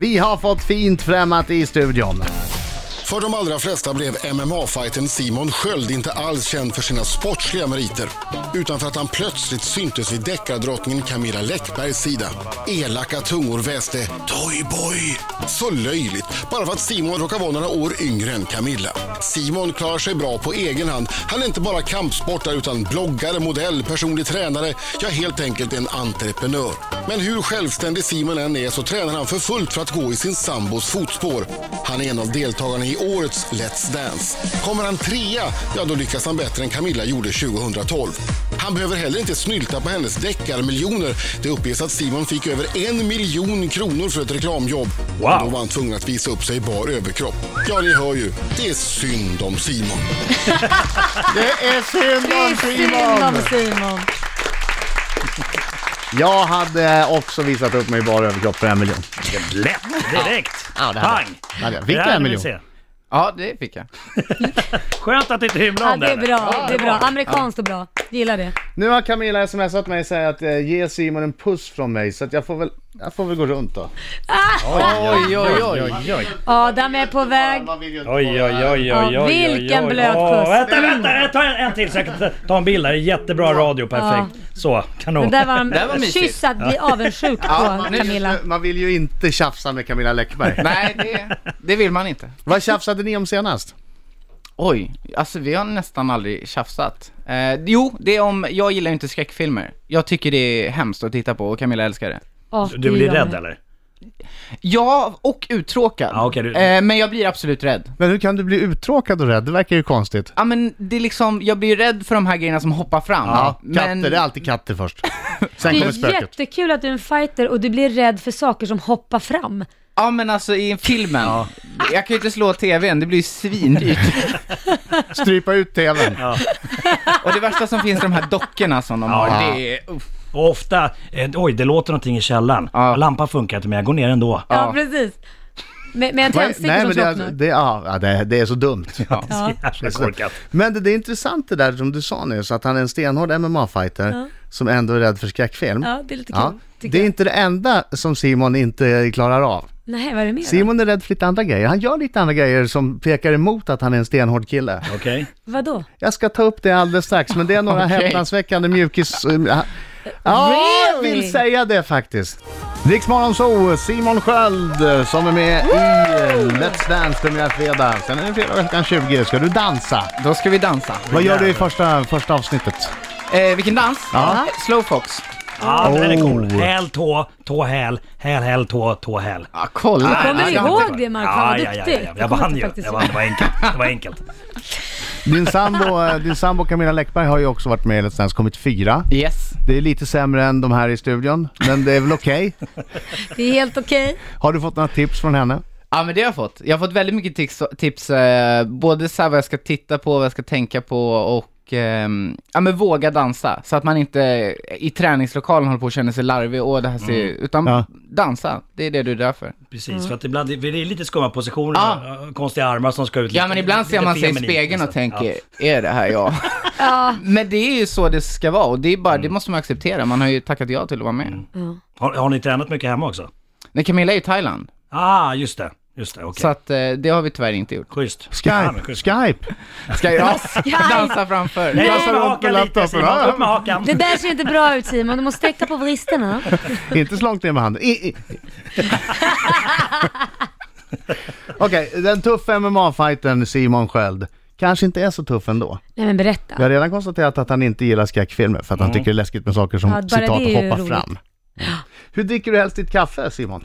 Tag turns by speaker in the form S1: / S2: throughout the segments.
S1: Vi har fått fint främmat i studion.
S2: För de allra flesta blev MMA-fighten Simon Sköld inte alls känd för sina sportsliga meriter, utan för att han plötsligt syntes vid deckardrottningen Camilla Läckbergs sida. Elaka tungor väste “Toyboy”. Så löjligt, bara för att Simon råkar vara några år yngre än Camilla. Simon klarar sig bra på egen hand. Han är inte bara kampsportare utan bloggare, modell, personlig tränare, ja helt enkelt en entreprenör. Men hur självständig Simon än är så tränar han för fullt för att gå i sin sambos fotspår. Han är en av deltagarna i årets Let's Dance. Kommer han trea, ja då lyckas han bättre än Camilla gjorde 2012. Han behöver heller inte snylta på hennes deckarmiljoner. Det uppges att Simon fick över en miljon kronor för ett reklamjobb.
S3: Wow.
S2: Och då var han tvungen att visa upp sig i bar överkropp. Ja, ni hör ju. Det är synd om Simon.
S1: Det är synd om Simon!
S4: Simon.
S1: Jag hade också visat upp mig i bara överkropp för en miljon.
S3: Lätt direkt!
S4: Ja, det hade
S3: Pang!
S1: hade jag. Fick
S3: Det
S1: jag
S3: här
S1: en
S3: vill vi
S1: miljon?
S3: se.
S5: Ja, det fick jag.
S3: Skönt att det inte hymlade
S4: Ja,
S3: om
S4: det är
S3: eller?
S4: bra. Det är bra. Amerikanskt och bra. Gillar det.
S1: Nu har Camilla smsat mig och säger att eh, ge Simon en puss från mig så att jag får väl, jag får väl gå runt då.
S5: Oj, oj, oj.
S4: Adam är på väg.
S3: Oj, oj, oj, oj, oj,
S4: Ja,
S3: oj,
S4: vilken
S3: oj.
S4: blöt
S3: Åh,
S4: puss.
S3: Vänta, vänta, jag tar en, en till så jag kan ta- ta en bild här. Jättebra radio, perfekt. Så,
S4: Det
S3: kanon.
S4: där var en
S5: Det var mysigt.
S4: kyss att bli avundsjuk på,
S5: nu-
S4: Camilla.
S1: Man vill ju inte tjafsa med Camilla Läckberg.
S5: Nej, det, det vill man inte.
S1: Vad tjafsade ni om senast?
S5: Oj, alltså vi har nästan aldrig tjafsat. Eh, jo, det är om, jag gillar ju inte skräckfilmer. Jag tycker det är hemskt att titta på och Camilla älskar det.
S4: Ja,
S3: Du
S4: det
S3: blir
S4: gör
S3: rädd
S4: det.
S3: eller?
S5: Ja, och uttråkad.
S3: Ja, okej, du-
S5: eh, men jag blir absolut rädd.
S1: Men hur kan du bli uttråkad och rädd? Det verkar ju konstigt.
S5: Ja men det är liksom, jag blir ju rädd för de här grejerna som hoppar fram.
S1: Ja, katter,
S5: men
S1: det är alltid katter först. Sen
S4: Det
S1: kommer
S4: är
S1: spöket.
S4: jättekul att du är en fighter och du blir rädd för saker som hoppar fram.
S5: Ja men alltså i filmen, jag kan ju inte slå tvn, det blir ju svindyrt.
S1: Strypa ut tvn.
S5: och det värsta som finns är de här dockorna som de
S3: Ja.
S5: har, det är, uff.
S3: Och ofta, eh, oj det låter någonting i källaren.
S5: Ja.
S3: Lampan funkar inte men jag går ner ändå.
S4: Ja, precis. Med, med en
S1: Nej,
S4: tändstick som
S1: men det, är- alltså-
S4: slocknar.
S1: det, är- ja, det, är- det är så dumt.
S4: Ja.
S3: Jävla korkat.
S1: Men det, det är intressant det där som du sa nu, så att han är en stenhård MMA-fighter som ändå är rädd för skräckfilm.
S4: ja, det är lite kul.
S1: Ja.
S4: tycker
S1: Det är
S4: jag.
S1: inte det enda som Simon inte klarar av.
S4: Nej, vad är det mer? då?
S1: Simon är rädd för lite andra grejer. Han gör lite andra grejer som pekar emot att han är en stenhård kille.
S3: Okej.
S4: Vadå?
S1: Jag ska ta upp det alldeles strax, men det är några
S5: Okej.
S1: häpnadsväckande mjukis... eh, Ja, jag vill
S4: Really?
S1: säga det faktiskt. Riksmorgon så Simon Sköld eh, som är med i Let's Dance premiär fredag. Sen är det fredag klockan 20. Ska du dansa?
S5: då ska vi dansa.
S1: Vad gör du i första, första avsnittet?
S5: Eh, vilken dans?
S1: Ja.
S5: Slowfox.
S3: Ja, den är cool.
S1: Oh.
S3: Häl, tå, tå, häl, häl, häl, tå, tå, häl.
S5: Ja, Ah, kolla.
S4: Kommer du
S5: jag har inte-
S4: ihåg det Mark? Fan vad
S3: ja,
S4: duktig.
S3: ja. Jag vann ju.
S4: faktiskt
S3: Jag vann, det var enkelt. Det var enkelt.
S1: Din sambo, eh, din sambo Camilla Läckberg har ju också varit med i Let's Dance, kommit fyra.
S5: Yes.
S1: Det är lite sämre än de här i studion, men det är väl okej.
S4: Det är helt okej.
S1: Har du fått några tips från henne?
S5: Ja men det har jag fått. Jag har fått väldigt mycket tips, tips eh, både så här vad jag ska titta på, vad jag ska tänka på och ehm, ja men våga dansa. Så att man inte i träningslokalen håller på och känner sig larvig, åh det här ser
S3: Mm.
S5: utan
S1: Ja.
S5: dansa, det är det du är där för.
S3: Precis, för att ibland det är lite skumma positioner,
S5: Ja.
S3: ja. konstiga armar som ska ut.
S5: Ja men ibland ser
S3: lite
S5: man sig i
S3: feminint
S5: spegeln
S3: nästan.
S5: och tänker, är det här jag?
S4: Ja.
S5: men det är ju så det ska vara och det är bara,
S3: Mm.
S5: det måste man acceptera, man har ju tackat ja till att vara med.
S3: Har, har ni tränat mycket hemma också?
S5: Nej Camilla är i Thailand,
S3: Ah, just det. Just det, okej.
S5: så att eh, det har vi tyvärr inte gjort.
S3: Schysst. Ja, men
S1: Skype!
S3: schysst.
S1: Skype!
S5: Ska jag dansa framför?
S3: Nej, upp
S1: Dansar
S3: med
S1: runt
S3: hakan
S1: med
S3: lite
S1: laptopen.
S3: Simon,
S1: Ja.
S3: upp med hakan.
S4: Det där ser inte bra ut Simon, du måste sträcka på vristerna.
S1: Inte så långt ner med handen. I- i- Okej, den tuffa MMA-fightern Simon Sköld kanske inte är så tuff ändå.
S4: Nej men berätta.
S1: Vi har redan konstaterat att han inte gillar skräckfilmer för att han tycker det är läskigt med saker som
S4: Mm. Ja, bara
S1: citat
S4: det är ju
S1: hoppar
S4: roligt.
S1: fram. Hur dricker du helst ditt kaffe Simon?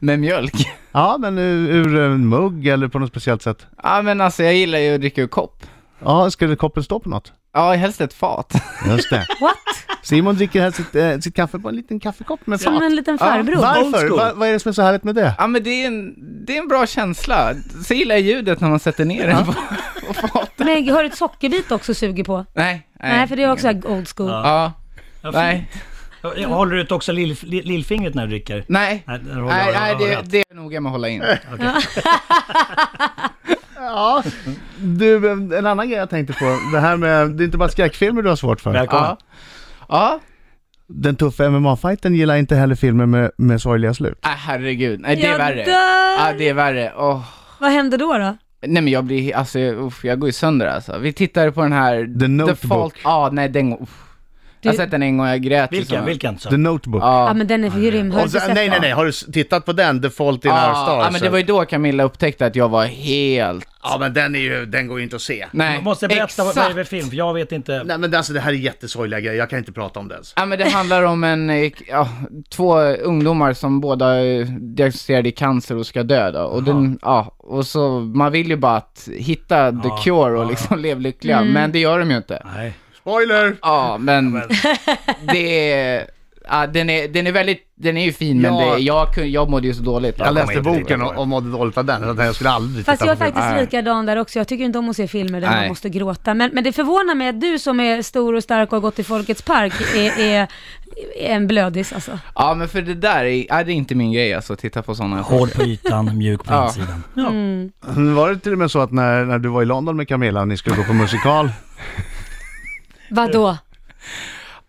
S5: Med mjölk?
S1: Ja, men ur, ur en mugg eller på något speciellt sätt?
S5: Ja men alltså jag gillar ju att dricka ur kopp.
S1: Ja, ska det koppen stå på något?
S5: Ja, helst ett fat.
S1: Just det.
S4: What?
S1: Simon dricker helst sitt, eh, sitt kaffe på en liten kaffekopp med
S4: Som
S1: fat.
S4: en liten
S5: Ja.
S4: farbror.
S3: Old
S1: Varför?
S3: school.
S1: Va, vad är det som är så härligt med det?
S5: Ja men det är en, det är en bra känsla. Så gillar jag ljudet när man sätter ner den på, på fatet.
S4: Men har du ett sockerbit också och suger på?
S5: Nej, nej.
S4: Nej, för det är också här old school.
S3: Ja.
S5: Ja,
S3: Ja,
S5: nej,
S3: fint. Håller du ut också lill, lill, lillfingret när du dricker?
S5: nej.
S3: Nej, den håller
S5: Nej,
S3: jag-
S5: nej
S3: jag-
S5: det,
S3: jag-
S5: det är noga med att hålla in.
S1: Ja, du, en annan grej jag tänkte på. Det här med, det är inte bara skräckfilmer du har svårt för.
S3: Välkommen.
S5: Ja. Ja,
S1: Den tuffa MMA-fighten gillar inte heller filmer med, med sorgliga slut.
S5: Nej herregud, nej det är
S6: Jag
S5: värre.
S6: dör!
S5: Ja det är värre, åh.
S6: Vad hände då då?
S5: Nej men jag blir, alltså jag- uff, jag går ju sönder alltså. Vi tittade på den här...
S1: Notebook.
S5: Ja nej den gång, uff. Jag har sett den en gång, jag grät
S3: Vilken,
S5: liksom.
S3: vilken? Så?
S1: The Notebook.
S5: Ja.
S4: Ja men den är för grym, har du
S1: Och
S4: inte
S1: så, nej,
S4: sett
S1: nej,
S4: den? Ah,
S1: nej. Har du s- tittat på den? The Fault in Our
S5: Ja,
S1: Stars?
S5: ja men det var ju då Camilla upptäckte att jag var helt...
S1: ja, men den, är ju, den går ju inte att se.
S5: Nej,
S3: Jag måste berätta vad
S5: exakt.
S3: vad det är för film, för jag vet inte.
S1: Nej, men alltså, det här är jättesorgliga grejer. Jag kan inte prata om det ens.
S5: Ja men det handlar om en, eh, ja, två ungdomar som båda eh, diagnostiserade i cancer och ska dö då. Och, den, ja, och så, man vill ju bara att hitta the cure och liksom leva lyckliga, men det gör de ju inte.
S3: Nej.
S1: Spoiler!
S5: Ja men det är, ja, den, är, den är väldigt, den är ju fin men
S1: Ja.
S5: det, jag, kun- jag mådde ju så dåligt.
S1: Jag läste
S3: kommer inte
S1: boken
S3: riktigt
S1: och, och mådde dåligt av den. så att Jag skulle aldrig
S4: Fast jag
S1: titta
S4: är
S1: på filmen.
S5: Nej.
S4: faktiskt likadan där också, jag tycker inte om att se filmer där
S5: Nej.
S4: man måste gråta. Men, men det förvånar mig att du som är stor och stark och har gått i Folkets Park är, är, är en blödis alltså.
S5: Ja men för det där är, ja, det är inte min grej alltså, att titta på sådana.
S3: Hård på ytan, mjuk på
S5: Ja.
S3: insidan. Ja.
S4: Mm.
S1: Mm, Var det till och med så att när, när du var i London med Camilla och ni skulle gå på musikal,
S4: Vadå?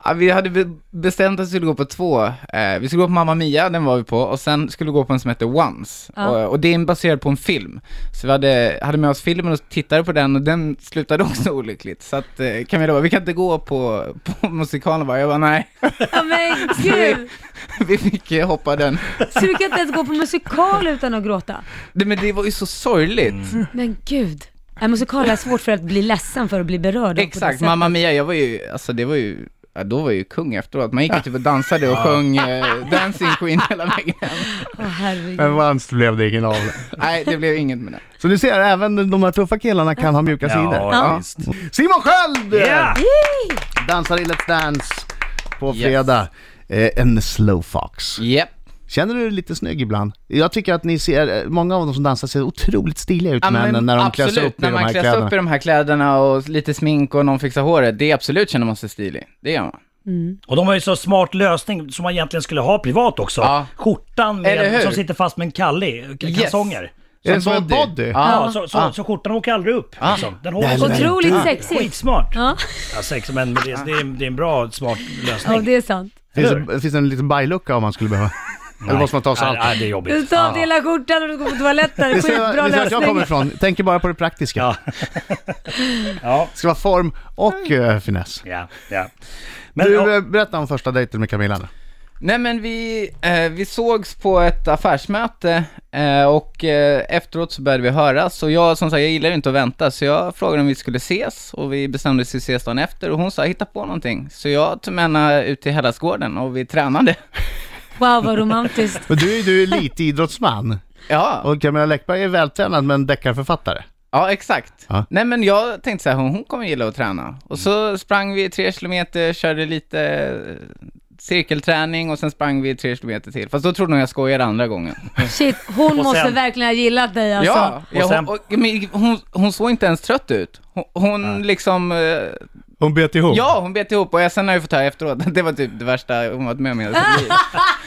S5: Ja, vi hade be- bestämt att vi skulle gå på två. Eh, vi skulle gå på Mamma Mia, den var vi på, och sen skulle vi gå på en som heter Once.
S4: Ja.
S5: Och, och det är baserad på en film. Så vi hade, hade med oss filmen och tittade på den och den slutade också olyckligt. Så att eh, Camilla bara, vi kan inte gå på, på musikalen bara. Jag bara, nej.
S4: Ja men gud!
S5: vi fick eh, hoppa den.
S4: Så du kan inte ens gå på musikal utan att gråta?
S5: Det, men det var ju så sorgligt.
S4: Men gud. En Äh, musikal är svårt för att bli ledsen för att bli berörd. på det
S5: Exakt,
S4: sättet.
S5: Mamma Mia, jag var ju, alltså det var ju, ja, då var jag ju kung efteråt. Man gick ju typ och dansade och sjöng eh, Dancing Queen hela vägen hem.
S4: Åh herregud.
S1: men vanns blev det ingen av det.
S5: Nej, det blev inget med det.
S1: Så ni ser, även de här tuffa killarna kan ha mjuka sidor.
S3: Ja,
S5: Ja.
S3: visst.
S1: Simon Sköld!
S3: Ja!
S1: Dansar i Let's Dance på
S5: Yes.
S1: fredag. Eh, en slow fox.
S5: Japp.
S1: Känner du dig lite snygg ibland? Jag tycker att ni ser, eh, många av dem som dansar ser otroligt stiliga ut,
S5: Ja,
S1: männen,
S5: men
S1: när de
S5: absolut,
S1: klär sig upp i
S5: när
S1: de
S5: man
S1: här
S5: klär sig
S1: kläderna.
S5: upp i de här kläderna och lite smink och någon fixar håret, det är absolut känner man sig stilig. Det gör man.
S3: Och de har ju så smart lösning som man egentligen skulle ha privat också.
S5: Ja.
S3: Skjortan
S5: Eller hur?
S3: med, som sitter fast med en kalli, k-
S5: Yes.
S3: kalsonger.
S1: Är det som en body?
S5: Ja.
S3: Ja, så, så, så skjortan åker aldrig upp. Liksom. Den håller sig.
S4: Otroligt sexigt.
S3: Skitsmart.
S4: Ja.
S3: Ja, sex, men det är, det, är, det är en bra, smart lösning.
S4: ja, det är sant.
S1: Finns,
S3: Eller
S1: det, finns det en liten bajlucka om man skulle behöva? Eller måste man ta sig
S3: Nej,
S1: allt?
S3: nej, det är
S4: Du
S3: jobbigt.
S4: tar av dig hela skjortan och du går på toaletten.
S1: Ni ser,
S4: Skitbra
S1: ni ser att jag kommer
S4: lösning.
S1: ifrån. Tänker bara på det praktiska.
S3: Ja. ja,
S1: Det ska vara form och eh, finess.
S3: ja, ja. Men,
S1: Du,
S3: ja,
S1: eh, berätta om första dejten med Camilla nu.
S5: Nej men vi, eh, vi sågs på ett affärsmöte eh, och eh, efteråt så började vi höras och jag som sagt, jag gillar ju inte att vänta så jag frågade om vi skulle ses och vi bestämde oss för att ses dagen efter och hon sa hitta på någonting. Så jag tog med henne ut till Hälladsgården och vi tränade.
S4: Wow vad romantiskt.
S1: Men du, är- du är lite idrottsman.
S5: Ja,
S1: Och Camilla Läckberg är vältränad men deckarförfattare.
S5: ja exakt.
S1: Ja.
S5: Nej men jag tänkte så här, hon, hon kommer gilla att träna. Och så sprang vi tre kilometer, körde lite eh, cirkelträning och sen sprang vi tre kilometer till. Fast då trodde hon jag skojade andra gången.
S4: Shit, hon måste verkligen ha gillat dig alltså.
S5: ja, ja
S3: Och sen-
S5: hon, och, men, hon, hon såg inte ens trött ut. Hon, hon liksom, eh,
S1: Hon bet ihop.
S5: ja hon bet ihop och jag, sen har jag fått höra efteråt att det var typ det värsta hon varit med om i hela sitt liv.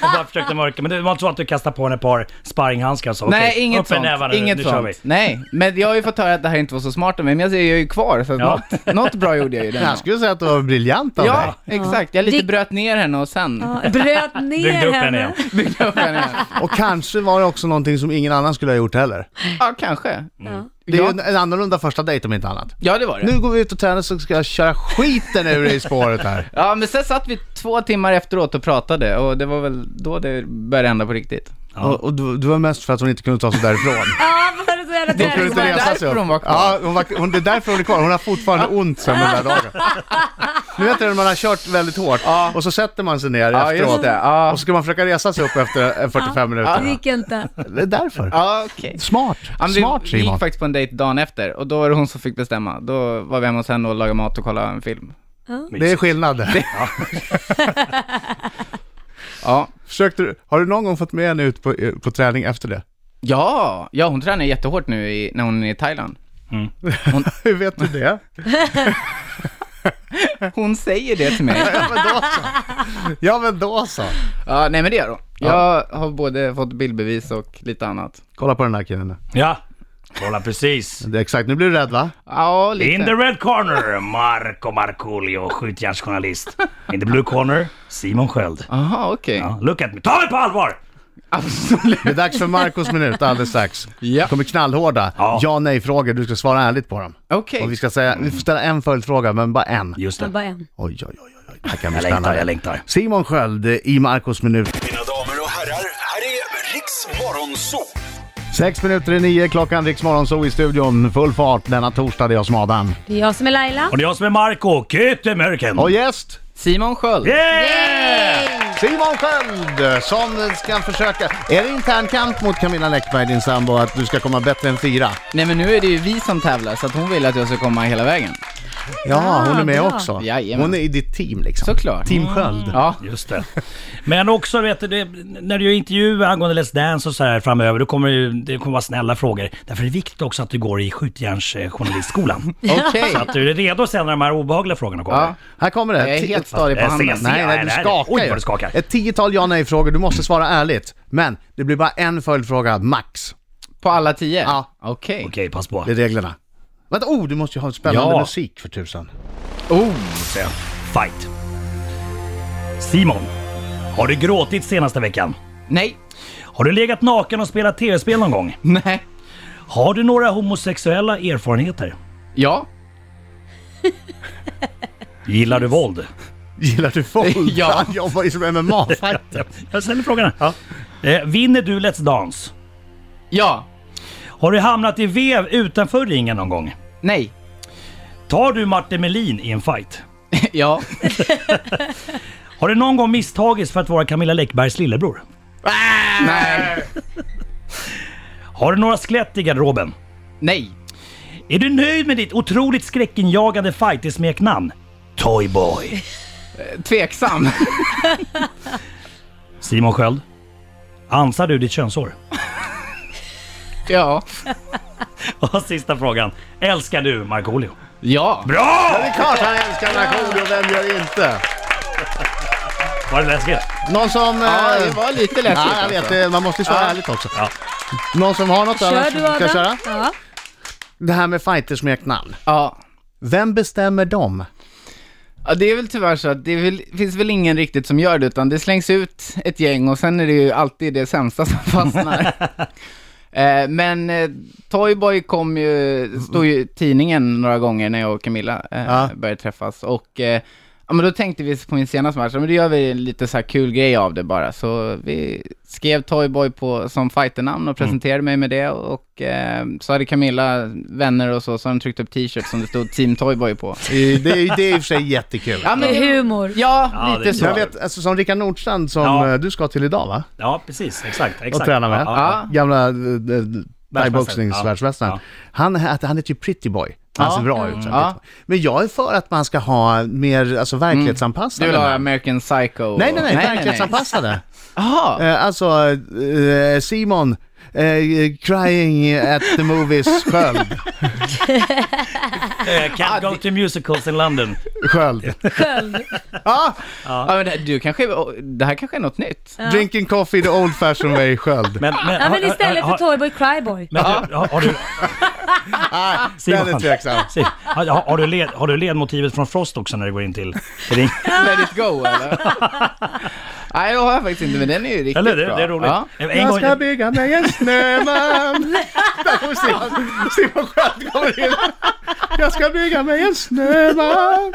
S3: jag bara försökte mörka, men det var inte så att du kastade på henne ett par sparringhandskar och så?
S5: Nej,
S3: okej,
S5: inget
S3: upp med
S5: sånt.
S3: nävarna nu,
S5: inget
S3: nu kör
S5: sånt.
S3: vi.
S5: Nej, men jag har ju fått höra att det här inte var så smart av mig, men jag säger jag är ju kvar så att
S3: Ja.
S5: något, något bra gjorde jag ju den
S1: Jag skulle säga att det var briljant av dig.
S5: Ja, exakt. Jag lite
S4: Det-
S5: bröt ner henne och sen
S4: Ja, bröt
S3: Byggde
S4: ner
S3: upp henne igen.
S4: henne.
S5: byggde jag upp henne igen.
S1: Och kanske var det också någonting som ingen annan skulle ha gjort heller.
S5: Ja, kanske.
S3: Mm.
S4: Ja.
S1: Det är ju
S5: Ja.
S1: en, en annorlunda första dejt om inte annat.
S5: Ja, det var det.
S1: Nu går vi ut och tränar så ska jag köra skiten ur dig i spåret här.
S5: Ja, men sen satt vi två timmar efteråt och pratade och det var väl då det började hända på riktigt.
S1: Och, och du, du var mest för att hon inte kunde ta sig därifrån.
S4: Ja, var det så jävla
S1: Hon kunde inte
S5: var
S4: träningsvärk?
S1: resa sig
S5: därför
S1: upp.
S5: hon var kvar.
S1: Ja, hon var, hon, det är därför hon är kvar. Hon har fortfarande ont sen den där dagen. Nu vet du när man har kört väldigt hårt
S5: Ja.
S1: och så sätter man sig ner
S5: Ja, just
S1: efteråt
S5: det. Ja.
S1: och så ska man försöka resa sig upp efter eh, 45
S4: Det
S1: minuter.
S4: gick inte.
S1: Det är därför.
S5: Ja, okej.
S1: Smart,
S5: Ja, men
S1: smart
S5: vi, vi gick
S1: Simon.
S5: faktiskt på en dejt dagen efter och då var det hon som fick bestämma. Då var vi hemma hos henne och lagade mat och kollade en film.
S1: Det är skillnad.
S5: Ja.
S1: Försökte du, har du någon gång fått med henne ut på, eh, på träning efter det?
S5: Ja, ja hon tränar jättehårt nu i, när hon är i Thailand.
S1: Hur vet du det?
S5: Hon säger det till mig.
S1: Ja men då så. Ja men då så.
S5: Ja, nej men det gör hon. Jag har både fått bildbevis och lite annat.
S1: Kolla på den här killen nu.
S3: Ja, Kolla precis.
S1: Det är exakt, nu blir du rädd va?
S5: Ja, lite.
S3: In the red corner, Marco Markoolio, skjutjärnsjournalist. In the blue corner, Simon Sköld.
S5: Aha, okej.
S3: Ja, look at me. Ta mig på allvar!
S5: Absolut.
S1: Det är dags för Marcos minut alldeles strax.
S5: Ja.
S1: kommer knallhårda
S3: Ja.
S1: ja nej-frågor, du ska svara ärligt på dem.
S5: Okej.
S1: Och vi ska säga, vi får ställa en följdfråga, men bara en.
S3: Just
S4: Det är
S3: det.
S4: bara en.
S1: Oj, oj, oj, oj. Det här kan bli
S3: Jag längtar,
S1: spännande.
S3: jag längtar.
S1: Simon Sköld eh, i Marcos minut.
S6: Mina damer och herrar, här är Riks Morgonzoo!
S1: Sex minuter i nio, klockan Rix Morgonzoo i studion. Full fart denna torsdag, det är jag som är Adam.
S4: Det är jag som är Laila.
S3: Och det är jag som är Marco Kyttemörken.
S1: Och gäst,
S5: Simon Sköld.
S3: Yeah!
S1: Simon Sköld, som ska försöka... Är det intern kamp mot Camilla Läckberg, din sambo, att du ska komma bättre än fyra?
S5: Nej men nu är det ju vi som tävlar så att hon vill att jag ska komma hela vägen.
S1: Ja, hon är med
S4: bra.
S1: också.
S5: Jajamän.
S1: Hon är i ditt team liksom.
S5: Såklart.
S1: Team Sköld.
S5: Ja.
S3: Just det. Men också, vet du, det, när du gör intervjuer angående Let's Dance och så här framöver, då kommer det, det kommer vara snälla frågor. Därför är det viktigt också att du går i skjutjärnsjournalistskolan.
S5: Okej.
S3: Så att du är redo sen när de här obehagliga frågorna kommer.
S5: Ja.
S1: Här kommer det.
S5: Jag är
S1: Ti-
S5: helt stadig på
S3: Jag
S5: handen.
S3: ses.
S1: Nej, nej, du
S3: Nej, nej,
S1: skakar
S3: oj,
S1: ju.
S3: vad du skakar.
S1: Ett tiotal ja nej-frågor, du måste svara ärligt. Men det blir bara en följdfråga, max.
S5: På alla tio?
S1: Ja.
S5: Okej.
S3: Okej, pass på.
S1: Det är reglerna. Vänta, oh, du måste ju ha spännande
S3: Ja.
S1: musik för tusan.
S5: Oh.
S3: Så, Fight. Simon, har du gråtit senaste veckan?
S5: Nej.
S3: Har du legat naken och spelat tv-spel någon gång?
S5: Nej.
S3: Har du några homosexuella erfarenheter?
S5: Ja.
S3: Gillar du våld?
S1: Gillar du folk?
S5: Ja.
S1: Han jobbar ju som mma
S3: Ja, Jag ställer frågorna. Eh, vinner du Let's Dance?
S5: Ja.
S3: Har du hamnat i vev utanför ringen någon gång?
S5: Nej.
S3: Tar du Martin Melin i en fight?
S5: ja.
S3: Har du någon gång misstagits för att vara Camilla Läckbergs lillebror?
S5: Nej.
S3: Har du några skelett i garderoben?
S5: Nej.
S3: Är du nöjd med ditt otroligt skräckinjagande fighter-smeknamn? Toyboy.
S5: Tveksam.
S3: Simon Sköld? Ansar du ditt könshår?
S5: ja.
S3: Och sista frågan. Älskar du Markoolio?
S5: Ja.
S1: Det är klart han älskar Markoolio, vem gör inte?
S3: Var det läskigt?
S1: Någon som...
S5: Ja,
S1: eh,
S5: det var lite läskigt
S1: Ja, jag vet.
S5: alltså.
S1: det. Man måste ju svara
S5: Ja.
S1: ärligt också.
S3: Ja.
S1: Någon som har något
S4: Kör
S1: annars?
S4: du
S1: Ska jag köra?
S4: Adam. Ja.
S1: Det här med fightersmeknamn.
S5: Ja.
S1: Vem bestämmer dem?
S5: Ja, det är väl tyvärr så att det är väl, finns väl ingen riktigt som gör det, utan det slängs ut ett gäng och sen är det ju alltid det sämsta som fastnar. eh, men eh, Toyboy kom ju, stod ju i tidningen några gånger när jag och Camilla eh,
S1: Ja.
S5: började träffas och eh, ja, men då tänkte vi på min senaste match, ja, men då gör vi en lite så här kul grej av det bara. Så vi skrev Toyboy på, som fighternamn och presenterade mig med det och eh, så hade Camilla vänner och så, så hade de tryckt upp t-shirts som det stod Team Toyboy på.
S1: Det är, det är i och för sig jättekul.
S5: Ja, men
S4: Det är humor.
S5: Ja,
S3: Ja, det är
S5: lite så.
S1: Jag vet, alltså, som Rickard Nordstrand som
S3: Ja.
S1: eh, du ska till idag va?
S3: Ja, precis. Exakt. exakt.
S1: Och träna med.
S3: Ja, ja.
S1: Gamla uh, thaiboxningsvärldsmästaren.
S3: Ja.
S1: Han, att han heter ju Pretty Boy. Han
S5: Ja.
S1: ser bra ut. så här.
S5: Ja.
S1: Men jag är för att man ska ha mer alltså,
S5: Du
S1: verklighetsanpassade.
S5: vill ha
S1: namn.
S5: American Psycho?
S1: Nej, nej, nej, verklighetsanpassade.
S5: Jaha,
S1: Eh, alltså, eh, Simon, eh, crying at the movies, Sköld.
S3: Eh, Can't go to musicals in London.
S1: Sköld. Ja,
S5: ja. men det, du kanske, det här kanske är något nytt?
S1: drinking coffee the old fashioned way, Sköld.
S3: Men, men,
S4: Ja men istället för
S3: har,
S4: Toyboy Cryboy.
S3: men du, har, har du...
S1: Nej,
S3: Simon.
S1: den är tveksam.
S3: Se, Har, har, du led, har du ledmotivet från Frost också när du går in till till ring?
S5: Let it go eller? nej, det har jag faktiskt inte, men den är ju riktigt
S3: Eller det,
S5: bra.
S3: det är roligt.
S5: Ja.
S3: En
S1: Jag
S3: gång-
S1: ska bygga mig en snöman. Där kommer Simon, Simon Sköld kommer in. Jag ska bygga mig en snöman.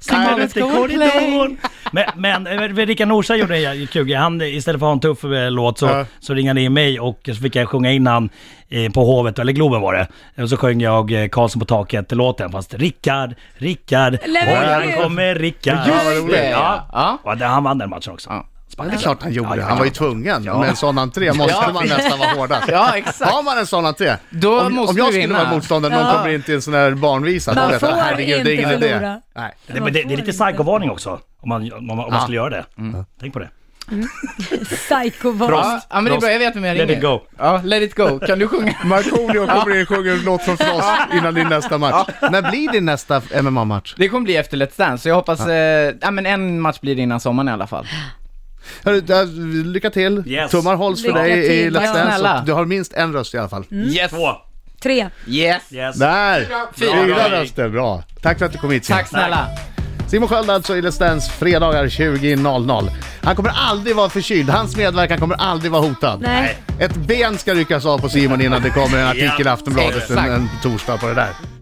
S3: Simon
S5: Let's
S3: ut i
S5: go and
S3: korridoren. Men, men eh, Rickard Norsa gjorde en jävla kul grej. Han, eh, istället för att ha en tuff eh, låt så,
S1: Ja.
S3: så ringde han in mig och så fick jag sjunga in han eh, på Hovet, eller Globen var det. Eh, Och så sjöng jag eh, Karlsson på taket-låten fast Rickard, Rickard,
S4: Nej, men
S3: här
S4: gud.
S3: kommer Rickard.
S1: Just det,
S5: ja.
S3: Ja.
S5: Ja.
S3: Och det- Han vann den matchen också.
S5: Ja.
S1: Ja, det är klart han gjorde. Han var ju tvungen.
S3: Ja.
S1: Med en sån entré måste man nästan vara hårdast.
S5: Ja, exakt.
S1: Har man en sån entré,
S5: Då
S1: om,
S5: måste
S1: om jag
S5: du
S1: skulle
S5: vinna.
S1: vara motståndare, någon
S4: Ja.
S1: kommer in till en sån här barnvisa, då
S4: Man
S1: vet jag,
S4: får
S1: herregud, det är
S4: inte
S1: ingen idé.
S4: förlora.
S1: Nej.
S3: Det, men det, det är lite psykovarning också om man, om man, om man skulle göra det.
S5: Mm.
S3: Tänk på det.
S4: Psykoboy.
S5: Ja, ja, men det är bra, jag vet vem jag ringer.
S3: Let it go.
S5: Ja, let it go. Kan du sjunga?
S1: Markoolio kommer in och sjunger en låt från Frost innan din nästa match. När blir din nästa MMA-match?
S5: Det kommer bli efter Let's Dance, så jag hoppas, ja. Eh, ja men en match blir det innan sommaren i alla fall.
S1: Hörru, äh, Lycka till!
S3: Yes.
S1: Tummar hålls för
S4: Lycka
S1: dig i
S4: till,
S1: Let's
S4: ja.
S1: Dance.
S5: Snälla.
S1: och Du har minst en röst i alla fall.
S5: Yes!
S3: Mm. Två.
S4: Tre.
S5: Yes!
S3: Yes.
S1: Där!
S5: Fyra.
S1: Fyra röster, bra. Tack för att du kom hit Simon.
S5: Tack snälla!
S1: Simon Sköld alltså i Let's Dance fredagar 20.00. Han kommer aldrig vara förkyld, hans medverkan kommer aldrig vara hotad.
S4: Nej.
S1: Ett ben ska ryckas av på Simon innan det kommer en artikel i Aftonbladet en,
S5: exakt.
S1: en torsdag på det där.